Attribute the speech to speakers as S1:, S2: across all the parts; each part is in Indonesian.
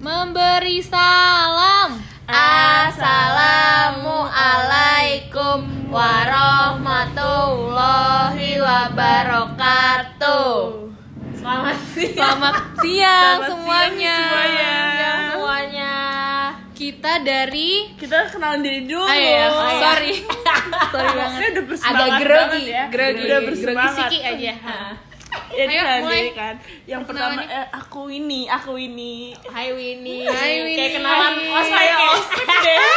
S1: Memberi salam.
S2: Assalamualaikum warahmatullahi wabarakatuh. Selamat siang.
S1: Selamat siang
S2: Selamat
S1: semuanya.
S2: siang semuanya.
S1: semuanya. Kita dari
S2: Kita kenalan diri dulu.
S1: Ah, iya, sorry. sorry banget.
S2: Saya udah
S1: Agak
S2: bersemangat
S1: grogi,
S2: banget ya.
S1: grogi,
S2: Udah
S1: grogi
S2: bersemangat.
S1: sikit aja. Ha.
S2: Ya,
S1: Ayo,
S2: kenalan
S1: mulai.
S2: diri kan. Yang pertama,
S1: Kenalannya.
S2: eh, aku ini, aku ini.
S3: Hai Winnie.
S1: Hai, Winnie.
S3: Kayak kenalan
S1: Hai.
S3: os
S2: Oh, Saya
S3: kayak os.
S2: ospek deh.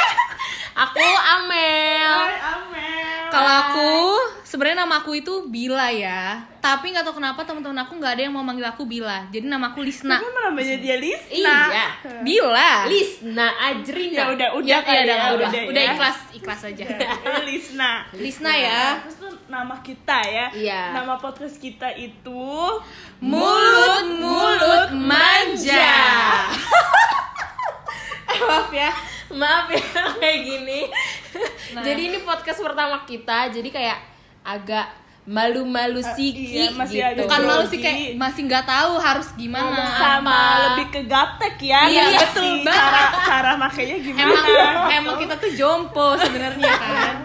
S3: Aku Amel.
S2: Hai, Amel.
S1: Kalau aku, sebenarnya nama aku itu Bila ya. Tapi nggak tahu kenapa teman-teman aku nggak ada yang mau manggil aku Bila. Jadi nama aku Lisna. Nah,
S2: Kamu malah namanya dia Lisna.
S3: Iya.
S1: Bila.
S3: Lisna Ajrina.
S2: Ya udah, udah
S1: ya,
S2: kali
S1: ya,
S2: ya,
S1: udah, udah,
S2: udah
S1: udah
S2: ya.
S1: ikhlas, ikhlas aja.
S2: Eh, Lisna.
S1: Lisna ya.
S2: Terus tuh nama kita ya.
S3: Iya.
S2: Nama podcast kita itu
S1: Mulut-mulut manja.
S3: Maaf ya. Maaf ya kayak gini.
S1: Nah.
S3: Jadi ini podcast pertama kita. Jadi kayak agak malu-malu
S2: iya,
S3: siki
S2: masih
S3: gitu.
S2: agak
S1: Bukan malu sih
S2: Grogi.
S1: kayak masih nggak tahu harus gimana.
S2: sama
S3: apa?
S2: lebih ke gaptek ya.
S1: Iya,
S2: nanti
S1: betul
S2: si
S1: banget.
S2: Cara cara makainya gimana?
S1: Emang emang kita tuh jompo sebenarnya kan.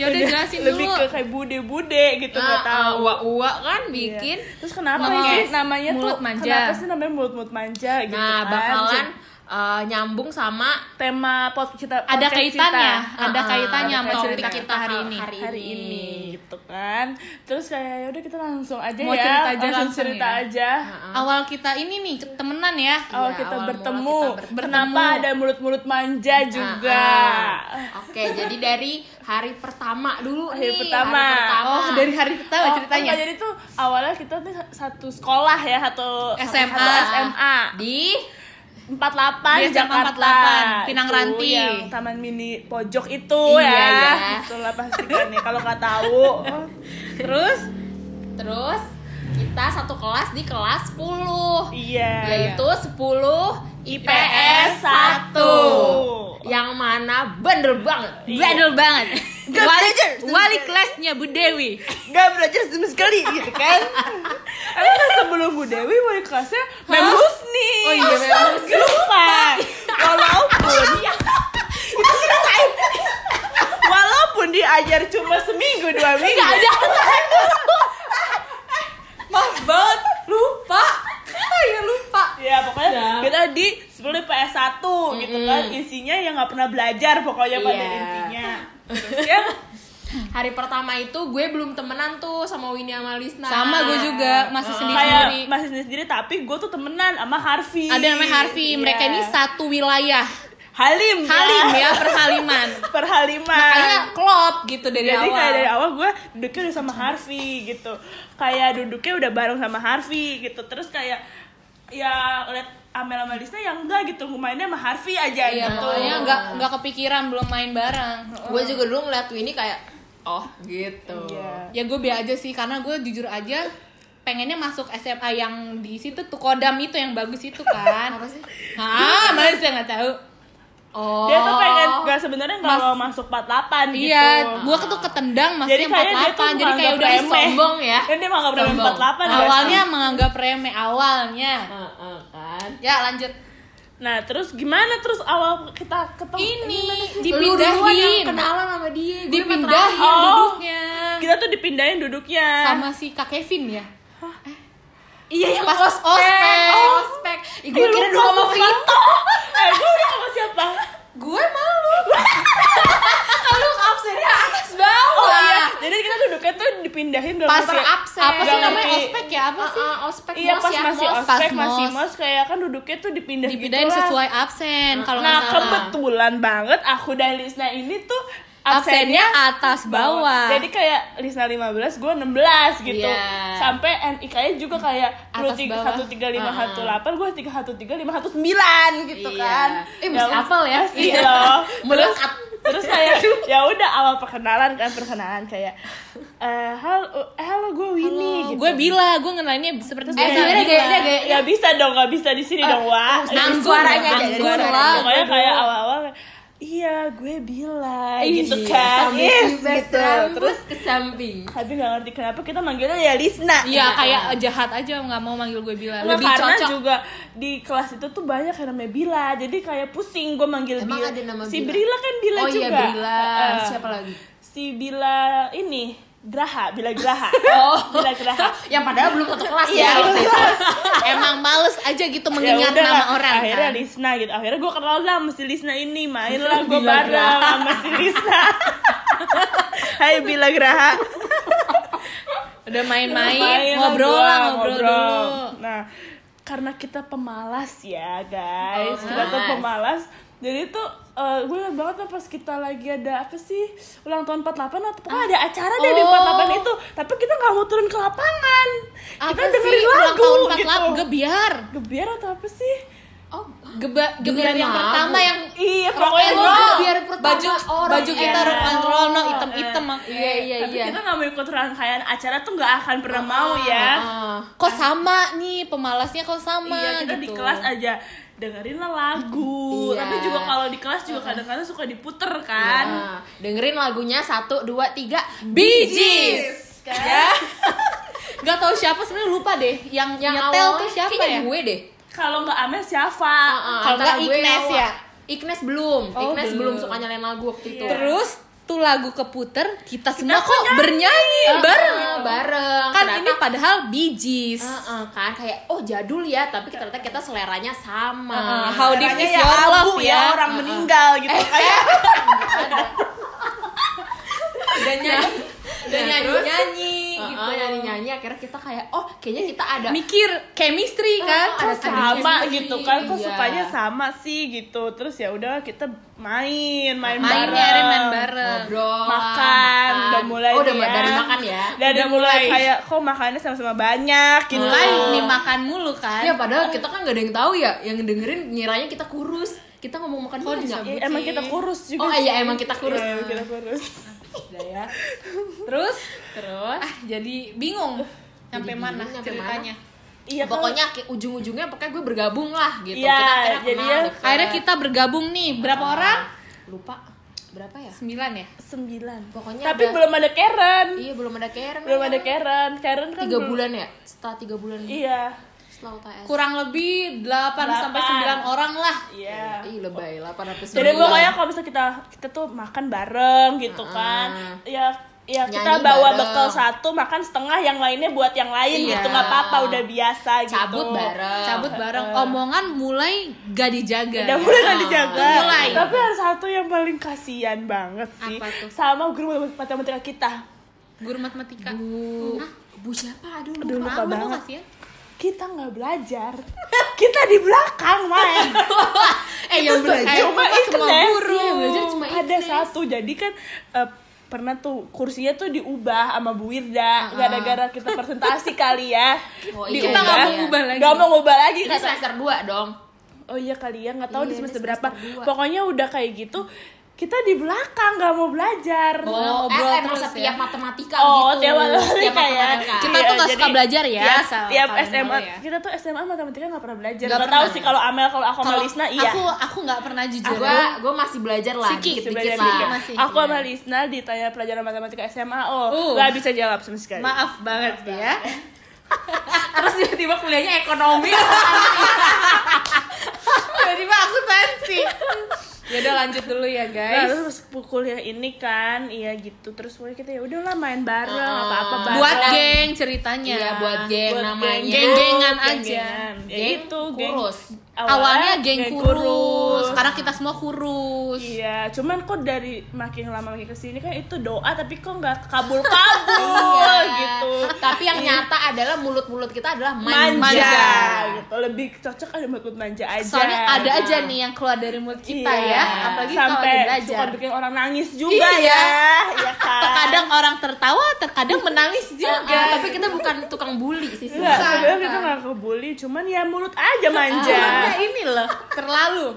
S1: Ya udah jelasin
S2: lebih
S1: dulu. Ah,
S2: ke Iya. kayak bude-bude gitu nggak tahu.
S3: uwa ah, kan bikin.
S2: Iya. Terus kenapa
S1: Podcast
S2: sih namanya
S1: mulut
S2: tuh
S1: manja.
S2: kenapa sih namanya mulut-mulut manja gitu
S3: Nah,
S2: kan?
S3: bakalan eh, nyambung sama
S2: tema pot kita
S1: Ada
S2: podcast
S1: kaitannya,
S2: kita.
S1: ada
S3: Ah,
S1: kaitannya sama
S3: ada
S1: cerita
S3: kaitannya
S1: kita hari ini.
S3: hari
S2: hari ini gitu kan terus kayak udah kita langsung aja
S1: Mau
S2: ya
S1: cerita aja langsung
S2: cerita
S1: ya?
S2: aja
S1: Awal kita ini nih temenan ya.
S2: awal
S3: Iya,
S2: kita
S3: awal mula
S2: bertemu.
S3: kita
S1: bertemu.
S2: kenapa ada mulut-mulut manja juga
S3: Ah, ah. Oke, jadi dari hari pertama dulu
S2: Hari
S3: nih.
S2: pertama.
S3: Hari pertama.
S1: Oh, dari hari
S2: Oh,
S1: pertama ceritanya.
S2: enggak, jadi tuh awalnya kita tuh satu sekolah ya satu
S1: SMA.
S2: satu SMA
S3: di
S2: 48
S3: Iya,
S1: Di SMA
S2: Jakarta
S1: 48, Pinang
S2: Itu
S1: Ranti.
S2: yang taman mini pojok itu
S3: Iya,
S2: ya
S3: iya.
S2: itulah pastikan nih kalau nggak tahu
S1: Terus
S3: terus kita satu kelas di kelas 10.
S2: iya
S3: Yaitu 10
S2: IPS
S3: IPS 1. Yang mana bandel banget.
S1: bandel banget.
S2: Gak
S1: Wali,
S2: belajar.
S1: wali kelasnya Bu Dewi.
S2: nggak belajar sama sekali gitu kan Emang kan sebelum Bu Dewi wali kelasnya Mem Husni
S1: Oh iya, Mem
S2: Husni lupa walaupun walaupun diajar cuma seminggu dua minggu
S3: Gak ada.
S1: Maaf banget, lupa.
S3: ya lupa.
S2: ya pokoknya
S3: Ya.
S2: kita di sebelum PS 1 gitu
S3: Mm-mm.
S2: kan isinya yang nggak pernah belajar pokoknya pada
S3: Iya.
S2: intinya terus ya
S3: Hari pertama itu gue belum temenan tuh sama Winnie sama Lisna.
S1: Sama gue juga, masih
S2: kayak
S1: sendiri-sendiri.
S2: masih sendiri tapi gue tuh temenan sama Harvey
S1: Ada yang namanya Harvey, mereka
S2: Iya.
S1: ini satu wilayah.
S2: Halim ya.
S1: Halim ya, perhaliman.
S2: perhaliman
S1: Makanya klop gitu dari
S2: Jadi
S1: awal.
S2: kayak dari awal gue duduknya udah sama Harvey gitu Kayak duduknya udah bareng sama Harvey gitu Terus kayak ya liat Amel sama Lisna yang enggak gitu Mainnya sama Harvey aja
S1: Iya,
S2: gitu
S1: pokoknya nggak nggak kepikiran belum main bareng.
S3: Gue juga dulu ngeliat Winnie kayak oh gitu.
S1: Ya
S2: Iya.
S1: gue be aja sih, karena gue jujur aja pengennya masuk SMA yang di situ tuh kodam itu yang bagus itu kan. Apa sih? Hah, masih nggak tahu.
S3: Oh.
S2: Dia tuh pengen nggak sebenarnya nggak
S1: Mas-
S2: mau masuk 48 gitu
S1: Iya, gue tuh ketendang
S2: Jadi
S1: masih
S2: kayak dia tuh
S1: 48 jadi kayak
S2: menganggap
S1: udah
S2: remeh. ya?
S3: sombong ya.
S2: Dan dia menganggap remeh
S3: Sombong.
S2: 48 nggak
S1: awalnya
S2: sih?
S1: menganggap remeh awalnya.
S3: Heeh, kan.
S1: Ya lanjut.
S2: Nah terus gimana terus awal kita ketemu
S1: Ini
S3: Oh, Lu duluan yang
S1: dipindahin.
S3: kenalan sama dia. Gue
S1: Dipindahin
S2: Oh.
S1: duduknya.
S2: Kita tuh dipindahin duduknya
S1: Sama si Kak Kevin ya.
S3: Iya yang
S1: Pas
S3: ospek.
S1: ospek.
S3: Ospek. Ih, gue kira dulu sama Vito.
S2: Eh gue udah sama siapa?
S3: Gue malu. Lu absen di atas bawah.
S2: Oh iya Jadi kita duduknya tuh dipindahin dalam
S3: Pas
S2: kayak-
S3: absen.
S1: Apa sih
S2: Gak
S1: namanya
S2: ngerti.
S1: ospek ya? Apa sih?
S3: Ah, ah, ospek
S2: Iya
S3: mos
S2: pas
S3: ya,
S2: masih
S3: mos.
S2: ospek
S1: pas
S2: masih
S1: mos.
S2: mos kayak kan duduknya tuh dipindah
S1: Dipindahin
S2: gitu lah.
S1: sesuai absen kalau
S2: Nah
S1: nggak salah.
S2: kebetulan banget aku dan Lisna ini tuh
S1: Absennya atas bawah.
S2: Jadi kayak Lisna 15, gue 16 gitu.
S3: Iya.
S2: Sampai NIK-nya juga kayak
S1: Atas bawah.
S2: 131518, gue 313519 gitu
S3: Iya.
S2: kan.
S3: Eh, mesti hafal ya.
S2: Masih
S3: Iya.
S2: loh. Terus-
S3: Melekat.
S2: terus kayak ya udah awal perkenalan kan perkenalan kayak eh halo eh, halo gue Winnie gitu.
S1: Gue bila, gue ngenalnya seperti
S3: Eh, sebenarnya
S1: Bila.
S3: gayanya gaya- Eh,
S2: Gak bisa dong, gak bisa di sini dong, Wah.
S1: nanggung,
S3: suaranya aja,
S1: nanggung
S3: suaranya.
S1: lah.
S2: Pokoknya kayak awal-awal iya gue bilang
S3: Ih,
S2: gitu kan
S3: Iya, sambil
S2: yes
S3: juga
S2: gitu terus
S3: terus ke samping
S2: tapi nggak ngerti kenapa kita manggilnya ya Lisna
S1: Iya kayak jahat aja nggak mau manggil gue Bila
S2: Nggak,
S1: lebih
S2: Iya, karena
S1: cocok.
S2: juga di kelas itu tuh banyak yang namanya Bila jadi kayak pusing gue manggil
S3: Emang
S2: Bila
S3: ada nama
S2: si
S3: Bila?
S2: Brila kan Bila
S3: oh
S2: juga
S3: iya Bila
S2: Heeh.
S3: siapa lagi
S2: si Bila ini Graha Bila Graha
S3: Oh.
S2: Bila Graha
S3: yang padahal belum satu kelas
S1: Iya,
S3: ya waktu itu.
S1: Emang males aja gitu mengingat
S2: Ya udah
S1: nama
S2: lah,
S1: orang
S2: akhirnya
S1: kan.
S2: Lisna gitu akhirnya gue kenal lah mesti Lisna ini main lah gue
S3: Bila
S2: bareng
S3: Graha.
S2: sama si Lisna Hai Bila Graha
S1: Udah
S2: Main
S1: main-main,
S2: lah
S1: ngobrol
S2: gua,
S1: lah, ngobrol, dulu.
S2: nah karena kita pemalas ya guys
S3: Oh,
S2: kita tuh
S3: pemalas.
S2: pemalas jadi tuh eh, gue ingat banget tuh pas kita lagi ada apa sih ulang tahun 48 atau pokoknya ada acara deh di
S1: Oh.
S2: 48 itu tapi kita nggak mau turun ke lapangan
S1: Apa
S2: kita Kan dengerin
S1: sih Kan ulang
S2: lagu
S1: tahun 48
S2: gitu
S1: gebiar.
S2: gebiar atau apa sih
S3: oh
S1: Geba, gebiar
S3: Dengerin
S1: yang
S3: lagu.
S1: pertama yang eh,
S2: iya
S1: rock
S2: pokoknya
S1: and
S3: roll.
S1: roll.
S3: Gebiar pertama
S1: baju
S3: orang,
S1: baju kita
S2: iya.
S1: rock and roll no hitam-hitam.
S3: iya iya
S2: tapi
S3: iya
S2: kita nggak mau ikut rangkaian acara tuh nggak akan pernah mau ya
S3: Ah.
S1: Kok sama nih pemalasnya kok sama
S2: iya kita di
S1: gitu.
S2: kelas aja dengerin lah lagu
S3: Iya. Ah,
S2: tapi juga kalau di kelas juga kadang-kadang suka diputer kan
S3: Nah, dengerin lagunya satu dua tiga
S1: Bee Gees.
S2: ya
S1: Gak tau siapa sebenarnya lupa deh yang,
S3: yang
S1: nyetel
S3: awalnya
S1: tuh siapa
S3: kayaknya
S1: ya?
S3: gue deh
S2: kalau nggak Amel siapa
S3: Ah,
S1: Kalau nggak
S3: antara gue
S1: Ignes
S3: awal.
S1: ya?
S3: Ignes belum
S1: Oh,
S3: Ignes
S1: belum.
S3: belum suka nyalain lagu waktu itu
S1: Terus tuh lagu keputer kita semua
S2: kok
S1: kok
S2: nyanyi?
S1: bernyanyi
S3: Ah,
S1: Eh, bareng.
S3: bareng
S1: Kan
S3: Ternyata-
S1: ini padahal Bee Gees.
S3: Heeh, kan kayak oh jadul ya tapi ternyata kita seleranya sama
S1: Heeh, how deep
S2: Caranya
S1: is your love
S2: abu
S1: ya.
S3: Ah,
S2: orang meninggal gitu
S3: Eh,
S2: kayak
S1: Dan nyanyi dan
S3: Nah,
S1: nyanyi
S3: terus?
S1: nyanyi gitu.
S3: nyanyi nyanyi akhirnya kita kayak oh kayaknya kita ada
S1: Mikir chemistry kan.
S3: Oh,
S2: kok
S3: ada
S2: sama
S3: chemistry,
S2: gitu kan kok
S3: iya.
S2: sukanya sama sih gitu terus ya udah kita main main bareng
S1: Mainnya
S3: ya,
S1: ada main bareng.
S3: ngobrol
S2: makan udah mulai
S3: oh udah
S2: nih ya.
S3: dari makan ya
S2: dari
S1: Udah
S2: mulai
S1: mulai.
S2: kayak kok makannya sama-sama banyak gitu
S1: Mulai nih makan mulu kan.
S3: ya padahal kita kan gak ada yang tahu ya yang dengerin ngiranya kita kurus kita ngomong makan
S1: Kok
S3: banyak
S1: disebut?
S2: Ya, emang kita kurus juga
S3: oh iya emang kita kurus
S2: Iya, emang kita kurus
S3: Udah ya.
S1: Terus
S3: terus
S1: ah jadi bingung sampai
S3: bingung,
S1: mana
S3: sampai
S1: ceritanya.
S2: iya kalau-
S3: pokoknya ke- ujung-ujungnya pokoknya gue bergabung lah gitu
S2: Iya,
S3: kita akhirnya
S2: jadi
S3: kenal
S2: ya-
S3: deket.
S1: Akhirnya kita bergabung nih berapa orang?
S3: lupa berapa ya
S1: Sembilan ya.
S2: sembilan
S3: Pokoknya
S2: tapi
S3: ada-
S2: belum ada Karen
S3: iya belum ada Karen
S2: belum
S3: ya.
S2: ada Karen Karen kan
S3: tiga
S2: belum-
S3: bulan ya setelah tiga bulan
S2: iya
S3: setelah UTS
S1: Kurang lebih 8 sampai 9 orang lah.
S2: iya
S3: Ih lebay 800
S2: jadi
S3: ribu.
S2: pokoknya kalau bisa kita kita tuh makan bareng gitu kan ya ya kita
S3: Nyanyi
S2: bawa
S3: bareng.
S2: bekal satu makan setengah yang lainnya buat yang lain
S3: Iya.
S2: gitu nggak apa-apa udah biasa gitu
S3: cabut bareng
S1: Cabut bareng omongan mulai gak dijaga. ya.
S2: udah mulai nggak dijaga
S1: Mulai.
S2: tapi ada satu yang paling kasihan banget sih
S1: Apa tuh?
S2: sama guru matematika kita
S1: Guru matematika.
S3: bu
S1: Hah?
S3: bu siapa aduh
S2: Aduh,
S3: lupa
S2: lupa
S1: Apa tuh
S2: banget.
S1: kasihan?
S2: kita nggak belajar kita di belakang main
S1: Eh, yang
S2: Terus
S1: belajar
S2: kayak
S1: cuma semua
S2: Ignes.
S1: guru.
S3: Iya, belajar cuma
S2: ada
S3: Ignes.
S2: satu jadi kan eh, pernah tuh kursinya tuh diubah sama Bu Wirda gara-gara kita presentasi kali ya
S3: Oh,
S1: Ah.
S3: iya,
S1: Kita nggak
S3: iya.
S1: mau ngubah lagi.
S2: nggak mau ngubah lagi
S3: ini
S2: kata-
S3: semester 2 dong
S2: oh iya kali ya nggak tahu
S3: Iya,
S2: di semester
S3: ini
S2: berapa
S3: semester dua.
S2: pokoknya udah kayak gitu kita di belakang nggak mau belajar
S3: oh
S1: ngobrol
S3: eh, emang
S1: terus
S3: setiap
S1: ya.
S3: matematika
S2: Oh,
S3: gitu
S2: tiap matematika ya.
S1: Kita
S2: Iya,
S1: tuh gak
S2: jadi-
S1: suka belajar ya.
S2: Ya,
S1: asal
S2: tiap
S1: kalian
S2: SMA
S1: tahu ya.
S2: kita tuh SMA matematika nggak pernah belajar
S1: Nggak
S2: nggak tahu
S1: pernah.
S2: sih kalau Amel kalau aku sama
S1: Kalau
S2: Lisna iya
S1: Aku aku nggak pernah jujur. ya.
S3: gue gue masih belajar lah
S1: Sikit,
S3: dikit
S2: Sebenarnya
S3: dikit lah
S1: dikit. Masih,
S2: aku sama
S1: iya.
S2: Lisna ditanya pelajaran matematika SMA oh
S1: Uh.
S2: nggak bisa jawab sama sekali
S1: Maaf banget ya.
S3: terus tiba-tiba kuliahnya ekonomi
S1: Tiba-tiba aku sensi. Ya udah lanjut dulu ya,
S2: Nah,
S1: guys.
S2: terus pas kuliah ini kan, iya gitu. Terus pokoknya kita ya udahlah main bareng,
S3: Ah,
S2: apa-apa bareng.
S1: Oh. Buat geng ceritanya.
S3: Iya buat geng
S2: Buat
S3: namanya
S1: Geng-gengan aja.
S2: Geng-gengan. Ya
S3: Geng
S2: gitu,
S3: kurus.
S1: Awalnya geng kurus, sekarang kita semua kurus.
S2: Iya, cuman kok dari makin lama makin kesini kan itu doa tapi kok nggak kabul-kabul
S1: Iya.
S2: gitu.
S3: tapi yang nyata adalah mulut-mulut kita adalah
S2: Manja,
S3: manja,
S2: gitu. Lebih cocok ada mulut manja aja.
S1: Soalnya ada aja nih yang keluar dari mulut kita
S2: Iya.
S1: ya, apalagi kalau
S2: sampai
S1: lagi
S2: suka
S1: belajar.
S2: bikin orang nangis juga
S1: Iya.
S2: ya. Iya kan?
S1: Terkadang orang tertawa, terkadang menangis
S3: Ah,
S1: juga.
S3: ah, tapi kita bukan tukang bully sih
S2: Enggak,
S3: sebenarnya.
S2: sebenarnya kita nggak kebuli, cuman ya mulut aja manja.
S1: Cuman ya ini loh, terlalu.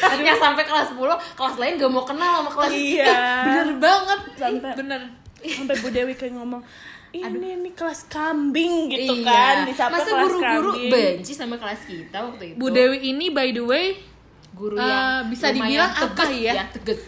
S3: Akhirnya sampai kelas 10, kelas lain gak mau kenal sama kelas
S2: iya.
S1: Bener banget. Ih,
S2: Sampai-
S1: Bener.
S2: Sampai Bu Dewi kayak ngomong, ini nih kelas kambing gitu
S3: Iya.
S2: kan, disapa
S3: Masa
S2: kelas
S3: guru-guru
S2: kambing.
S3: benci sama kelas kita waktu itu?
S1: Bu Dewi ini by the way
S3: guru
S1: Eh,
S3: yang
S1: bisa
S3: lumayan
S1: dibilang apa
S3: tegas
S1: ya?
S3: tegas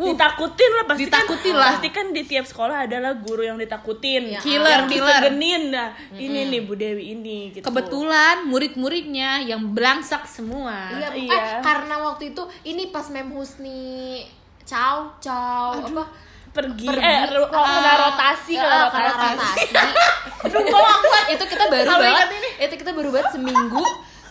S1: Uh.
S2: ditakutin lah pasti
S1: Ditakutin
S2: kan,
S1: lah.
S2: pasti kan di tiap sekolah adalah guru yang ditakutin
S1: Killer,
S2: yang
S1: killer.
S2: disegenin nah ini nih Bu Dewi ini gitu
S1: Kebetulan murid-muridnya yang belangsak semua.
S3: Iya,
S2: Iya.
S3: eh, karena waktu itu ini pas Mem Husni Chow Chow apa
S2: pergi,
S3: pergi
S2: eh ro- oh, kena rotasi
S3: Eh,
S2: kena
S3: eh,
S2: rotasi,
S3: kena rotasi. Aduh, kok aku itu kita baru
S2: Kalau
S3: banget.
S2: ingat ini.
S3: Itu kita baru banget seminggu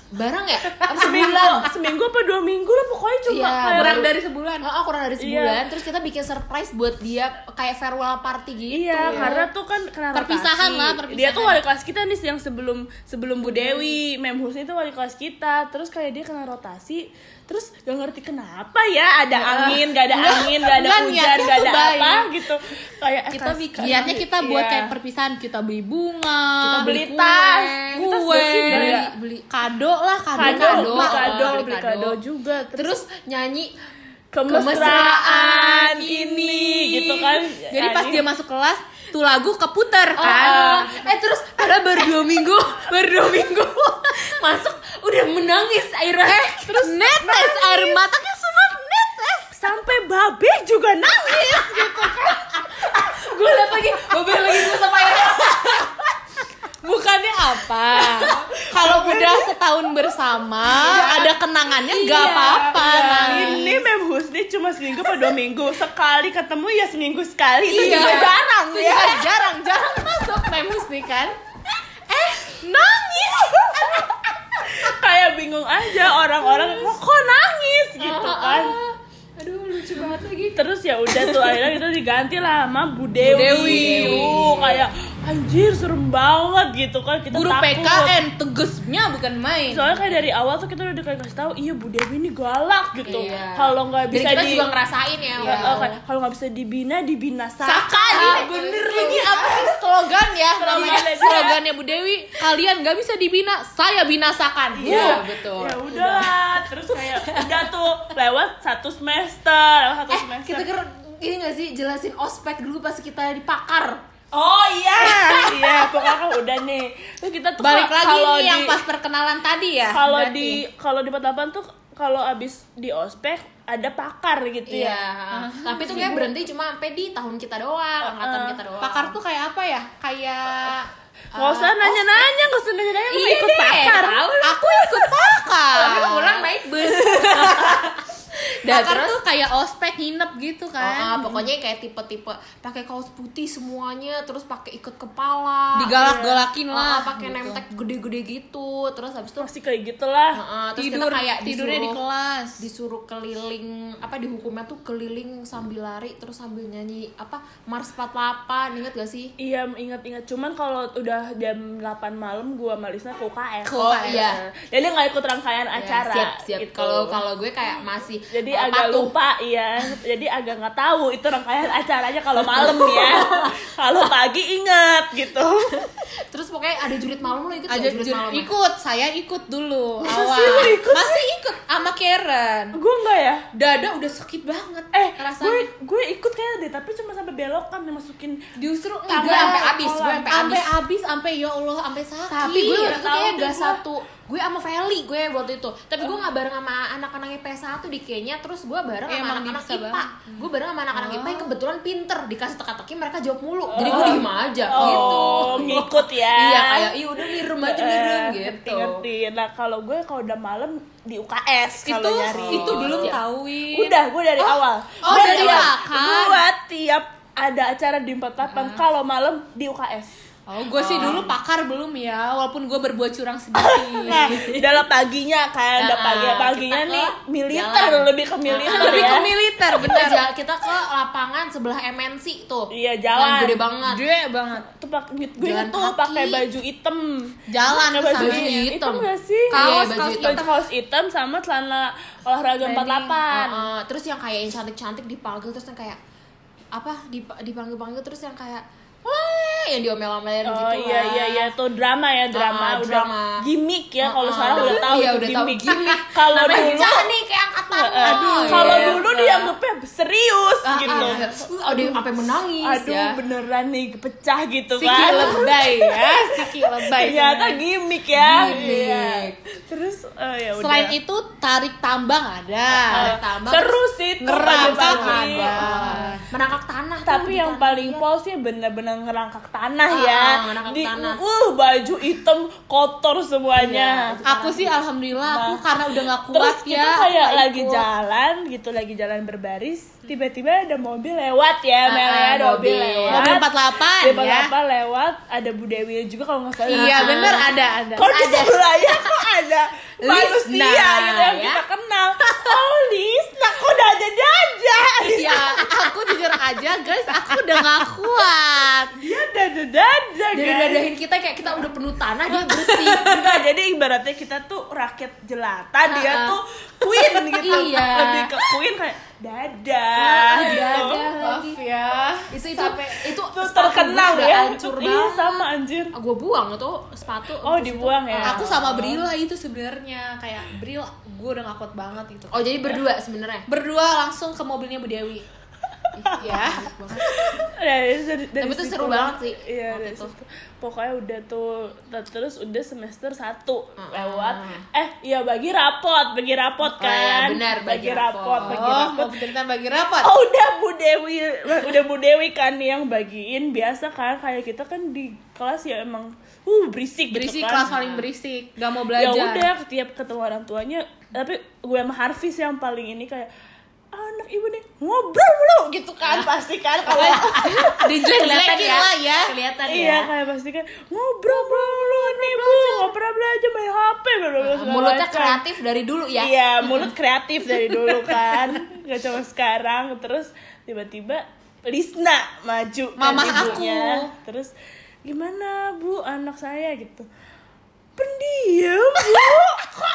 S3: bareng ya? Apa
S2: seminggu
S3: Sebulan.
S2: seminggu apa dua minggu lah pokoknya cuma
S3: Iya,
S2: kayak-
S1: Kurang dari sebulan.
S3: Oh, oh, kurang dari
S2: Iya.
S3: sebulan. Terus kita bikin surprise buat dia kayak farewell party gitu.
S2: Iya, karena tuh kan kena
S1: ya. Perpisahan
S2: rotasi.
S1: lah, perpisahan.
S2: Dia tuh wali kelas kita nih yang sebelum sebelum Bu Dewi, Mem Husni tuh wali kelas kita. Terus kayak dia kena rotasi, terus gak ngerti kenapa ya ada angin, gak ada angin, gak ada
S1: enggak,
S2: hujan,
S1: niatnya
S2: gak
S1: tuh
S2: ada
S1: baik.
S2: apa gitu. Kayak eh,
S1: kita
S2: kas-
S1: bikin
S2: kas-
S1: niatnya kita buat
S2: iya.
S1: kayak perpisahan kita beli bunga
S2: Kita beli tas,
S1: kue,
S2: tas gak sih?
S1: beli,
S2: Iya.
S1: beli kado lah kado kado,
S2: kado, beli kado,
S1: Oh,
S2: beli kado juga.
S3: Terus nyanyi
S2: kemesraan ini gitu kan.
S1: jadi pas dia masuk kelas tuh lagu keputar
S3: Oh,
S1: kan
S3: oh. eh terus ada baru dua minggu, baru dua minggu masuk udah menangis airnya.
S2: Eh,
S1: terus netes air matanya semua netes
S2: sampai babe juga nangis.
S3: gue liat lagi, bobel lagi gue sama airnya.
S1: bukannya apa kalau udah setahun bersama ada kenangannya nggak
S3: Iya.
S1: apa-apa Nah, nangis.
S2: Ini Mem Husni cuma seminggu apa dua minggu sekali ketemu ya seminggu sekali itu
S1: Iya.
S2: juga jarang
S1: Itu
S2: ya.
S1: juga jarang jarang masuk memus nih kan eh nangis
S2: Kayak bingung aja orang-orang "Kok- kok nangis
S1: Ah,
S3: Ah,
S2: gitu kan.
S3: Aduh lucu banget lagi.
S2: Terus ya udah tuh akhirnya itu diganti lah sama Bu Dewi.
S1: Bu Dewi.
S2: Uh, kayak anjir serem banget gitu kan kita
S1: guru
S2: takut.
S1: PKN tegesnya bukan main
S2: Soalnya kayak dari awal tuh kita udah kayak kasih tahu, iya Bu Dewi ini galak gitu.
S3: Iya.
S2: Kalau nggak
S3: Dan
S2: bisa
S3: kita
S2: di
S3: juga ngerasain ya.
S2: Iya,
S3: Wow.
S2: oke. kalau nggak bisa dibina dibinasakan.
S1: Sakali
S3: bener
S1: ini apa sih slogan ya
S2: Slogan
S1: namanya
S2: aja.
S1: slogannya Bu Dewi kalian gak bisa dibina saya binasakan
S3: Iya,
S1: Wuh.
S3: betul.
S2: Ya udahlah, terus kayak udah tuh lewat satu semester, lewat satu
S3: Eh,
S2: semester.
S3: kita kira ini gak sih jelasin ospek dulu pas kita di pakar.
S2: Oh iya, iya pokoknya kan udah nih. Terus kita tuh
S1: balik
S2: kalau-
S1: lagi
S2: kalau
S1: nih yang
S2: di-
S1: pas perkenalan tadi ya
S2: kalau
S1: berarti.
S2: di kalau di 48 tuh kalau abis di ospek ada pakar gitu
S3: Iya.
S2: ya.
S3: Tapi itu kayak berhenti cuma sampai di tahun kita doang, angkatan kita doang.
S1: Uh, pakar tuh kayak apa ya kayak
S2: Gak usah nanya-nanya, gak usah nanya-nanya, mau ikut
S1: Iya deh,
S2: pakar.
S1: tahu. aku ikut pakar
S3: Tapi pulang naik bus. Dan
S1: Pakar
S3: terus
S1: tuh kayak ospek nginep gitu
S3: Ah,
S1: kan.
S3: pokoknya kayak tipe-tipe pakai kaos putih semuanya, terus pakai ikat kepala.
S1: Digalak-galakin
S3: Ah,
S1: lah.
S3: ah, pakai name tag gede-gede gitu. Terus habis itu
S2: Masih kayak gitulah.
S3: ah, terus
S1: Tidur
S3: kita kayak
S1: tidurnya di
S3: disuruh-
S1: kelas.
S3: disuruh keliling apa dihukumnya tuh keliling sambil lari terus sambil nyanyi apa Mars 48 inget gak sih?
S2: Iya, ingat-ingat. Cuman kalau udah jam 8 malam gua sama Lisna ke UKS.
S3: Ke UKS.
S2: iya. Jadi nggak ikut rangkaian
S3: Ya,
S1: Iya,
S2: acara.
S3: siap siap
S2: gitu.
S3: kalau kalau gue kayak masih
S2: jadi
S3: eh,
S2: agak
S3: patuh.
S2: lupa iya. Jadi agak nggak tahu itu rangkaian acaranya kalau malam ya. kalau pagi ingat gitu.
S3: terus pokoknya ada jurit malam lo ikut
S1: Aja
S3: gak jurit
S1: jujur,
S3: malam
S1: ikut, saya ikut dulu
S2: Masa
S1: awal.
S2: sih lu ikut
S1: Masih ikut sama Karen.
S2: Gua nggak ya?
S1: Dada udah sakit banget.
S2: Eh,
S1: rasanya.
S2: gue gue ikut kayaknya deh, tapi cuma sampai belokan dimasukin
S1: justru
S3: Enggak,
S1: enggak
S3: sampai abis, gue sampai
S1: sampai
S3: abis.
S1: abis, sampai ya Allah, sampai sakit.
S3: tapi gue
S2: Iya,
S3: waktu itu
S2: tahu
S3: kayak
S2: tuh
S3: gak
S2: gue.
S3: satu gue sama Feli gue waktu itu tapi
S2: Oh.
S3: gue nggak bareng sama anak-anak IPS 1 di kayaknya terus gue bareng sama
S1: Emang
S3: anak-anak
S1: bisa
S3: IPA
S1: banget.
S3: gue bareng sama anak-anak IPA
S2: Oh.
S3: yang kebetulan pinter dikasih teka-teki mereka jawab mulu jadi gue diem aja gitu
S2: Oh, ngikut ya.
S3: iya kayak iya udah ngirim aja ngirim
S2: Eh,
S3: gitu
S2: Ngerti, Nah, kalau gue kalau udah malam di UKS
S1: itu
S2: kalau nyari.
S1: itu belum
S3: Siap.
S1: tahu
S2: Udah, gue dari awal.
S1: oh,
S2: Gua
S1: dari
S2: awal.
S1: belakang.
S2: Gua tiap ada acara di 48 kalau malam di UKS.
S1: Oh, gue sih dulu pakar belum ya, walaupun gue berbuat curang sedikit.
S2: Nah, dalam paginya kan, udah
S3: Nah,
S2: pagi paginya
S3: kita
S2: nih
S3: ke
S2: militer
S3: jalan. Ah,
S2: lebih ke militer
S1: Lebih
S2: ya.
S1: ke militer,
S3: kita,
S1: bener.
S3: ja- kita ke lapangan sebelah MNC tuh
S2: Iya,
S3: Yang
S2: jalan.
S3: gede banget
S1: Gede banget.
S2: Tuh, pak- gue
S3: Jalan
S2: tuh
S3: kaki.
S2: pakai baju hitam.
S1: Jalan
S2: Pakai baju
S1: sama
S3: samanya.
S2: hitam.
S3: hitam.
S2: gak sih?
S1: Kaos,
S2: Iya,
S1: kaos
S2: baju hitam.
S1: hitam.
S2: Kaos hitam sama celana olahraga 48.
S3: Heeh, terus yang kayak yang cantik-cantik dipanggil terus yang kayak apa dip- dipanggil-panggil terus yang kayak wah yang diomel-omelin gitu
S2: Oh iya
S3: lah.
S2: iya iya tuh drama ya drama
S3: Ah,
S2: udah
S3: drama.
S2: gimmick ya kalau
S3: Ah,
S2: sekarang udah tahu
S3: iya,
S2: itu
S3: udah tahu
S2: gimmick.
S3: gimmick.
S2: kalau
S3: Namanya Iya,
S2: dulu
S3: Jahan nih kayak angkatan
S2: Aduh, kalau dulu
S3: Ah.
S2: dianggapnya serius gitu.
S3: Aduh, sampai menangis
S2: Aduh,
S3: ah, iya. ya.
S2: beneran nih pecah gitu
S1: Siki
S2: kan.
S1: lebay ya, Siki lebay.
S2: Iya, Ternyata gimmick ya.
S3: Gimmick.
S2: Iya. Terus eh, ya udah.
S1: Selain itu tarik tambang ada.
S2: Eh,
S3: tambah,
S2: seru sih itu
S1: ngerangkak
S2: pagi-pagi.
S1: ada.
S2: Eh,
S3: Menangkak tanah. tuh
S2: Tapi
S3: di
S2: yang
S3: tanah.
S2: paling pol sih bener-bener ngerangkak tanah
S3: Ah,
S2: ya.
S3: ah, ngerangkak
S2: Di,
S3: tanah.
S2: uh, baju hitam kotor semuanya.
S1: Nah, Aku sih alhamdulillah aku karena udah gak
S2: Terus
S1: Iya, kuat
S2: kita
S1: ya.
S2: kayak
S1: nggak
S2: lagi
S1: ikut.
S2: jalan gitu, lagi jalan berbaris, tiba-tiba ada mobil lewat ya, Mel ya,
S3: ah,
S2: ada mobil
S3: mobil.
S2: lewat.
S1: Mobil 48
S2: Mobil
S1: ya.
S2: 48 lewat, ada Bu Dewi juga kalau nggak salah. Ah.
S1: Iya bener ada ada.
S2: Kok di
S1: ada.
S2: sebelahnya kok ada
S1: Lisna,
S2: manusia gitu yang
S1: ya.
S2: kita kenal. Oh Lisna, kok dada-dada?
S1: Ya, aku jujur aja guys, aku udah gak kuat.
S2: Dia Iya, dada-dada
S3: dari
S2: guys.
S3: dadahin kita kayak kita udah penuh tanah dia bersih.
S2: Enggak, jadi ibaratnya kita tuh rakyat jelata, dia
S3: Ha-ha.
S2: tuh queen gitu.
S3: Iya.
S2: Lebih ke queen kayak dada. gitu.
S3: Dadah lagi.
S1: ya.
S3: Itu itu
S1: Sampai-
S3: itu
S2: Itu
S3: sepatu
S2: terkenang
S3: gua udah
S2: ya.
S3: Hancur
S2: Iya
S3: banget.
S2: sama anjir.
S3: Gue buang itu sepatu.
S2: Oh,
S3: Terus itu-
S2: dibuang ya?
S1: Aku sama Brila itu sebenarnya kayak Bril, gue udah gak kuat banget gitu.
S3: Oh, jadi berdua sebenarnya.
S1: Berdua langsung ke mobilnya Bu Dewi. ya.
S3: Iya.
S2: Dari, Nah, dari, dari
S3: Tapi itu
S2: situ
S3: seru
S2: lah.
S3: banget sih,
S2: Iya,
S3: waktu
S2: dari
S3: itu.
S2: situ. Pokoknya udah tuh ter- terus udah semester 1 lewat. Eh, iya bagi rapot, bagi rapot
S3: Oh, iya,
S2: kan.
S3: benar, bagi rapot.
S2: bagi
S1: Oh,
S2: rapot.
S1: mau tentang bagi rapat.
S2: Oh udah Bu Dewi, udah Bu Dewi kan nih yang bagiin biasa kan kayak kita kan di kelas ya emang uh berisik,
S1: berisik
S2: gitu kan.
S1: kelas paling berisik gak mau
S2: ya
S1: belajar
S2: udah setiap ketemu orang tuanya tapi gue sama Harvey sih yang paling ini kayak "Ah, anak ibu nih ngobrol mulu gitu
S3: Ah.
S2: kan pasti kan kalau
S1: Dijelek-jelekin lah ya
S3: Kelihatan
S2: iya
S3: ya.
S2: kayak pasti kan ngobrol mulu nih bu nggak pernah belajar main HP bla bla bla, segala
S3: Ah, Mulutnya
S2: macam.
S3: kreatif dari dulu ya.
S2: kan. iya mulut kreatif dari dulu kan gak cuma sekarang terus tiba-tiba Lisna maju kan
S1: Mamah
S2: ibunya.
S1: aku.
S2: terus gimana bu anak saya gitu pendiam bu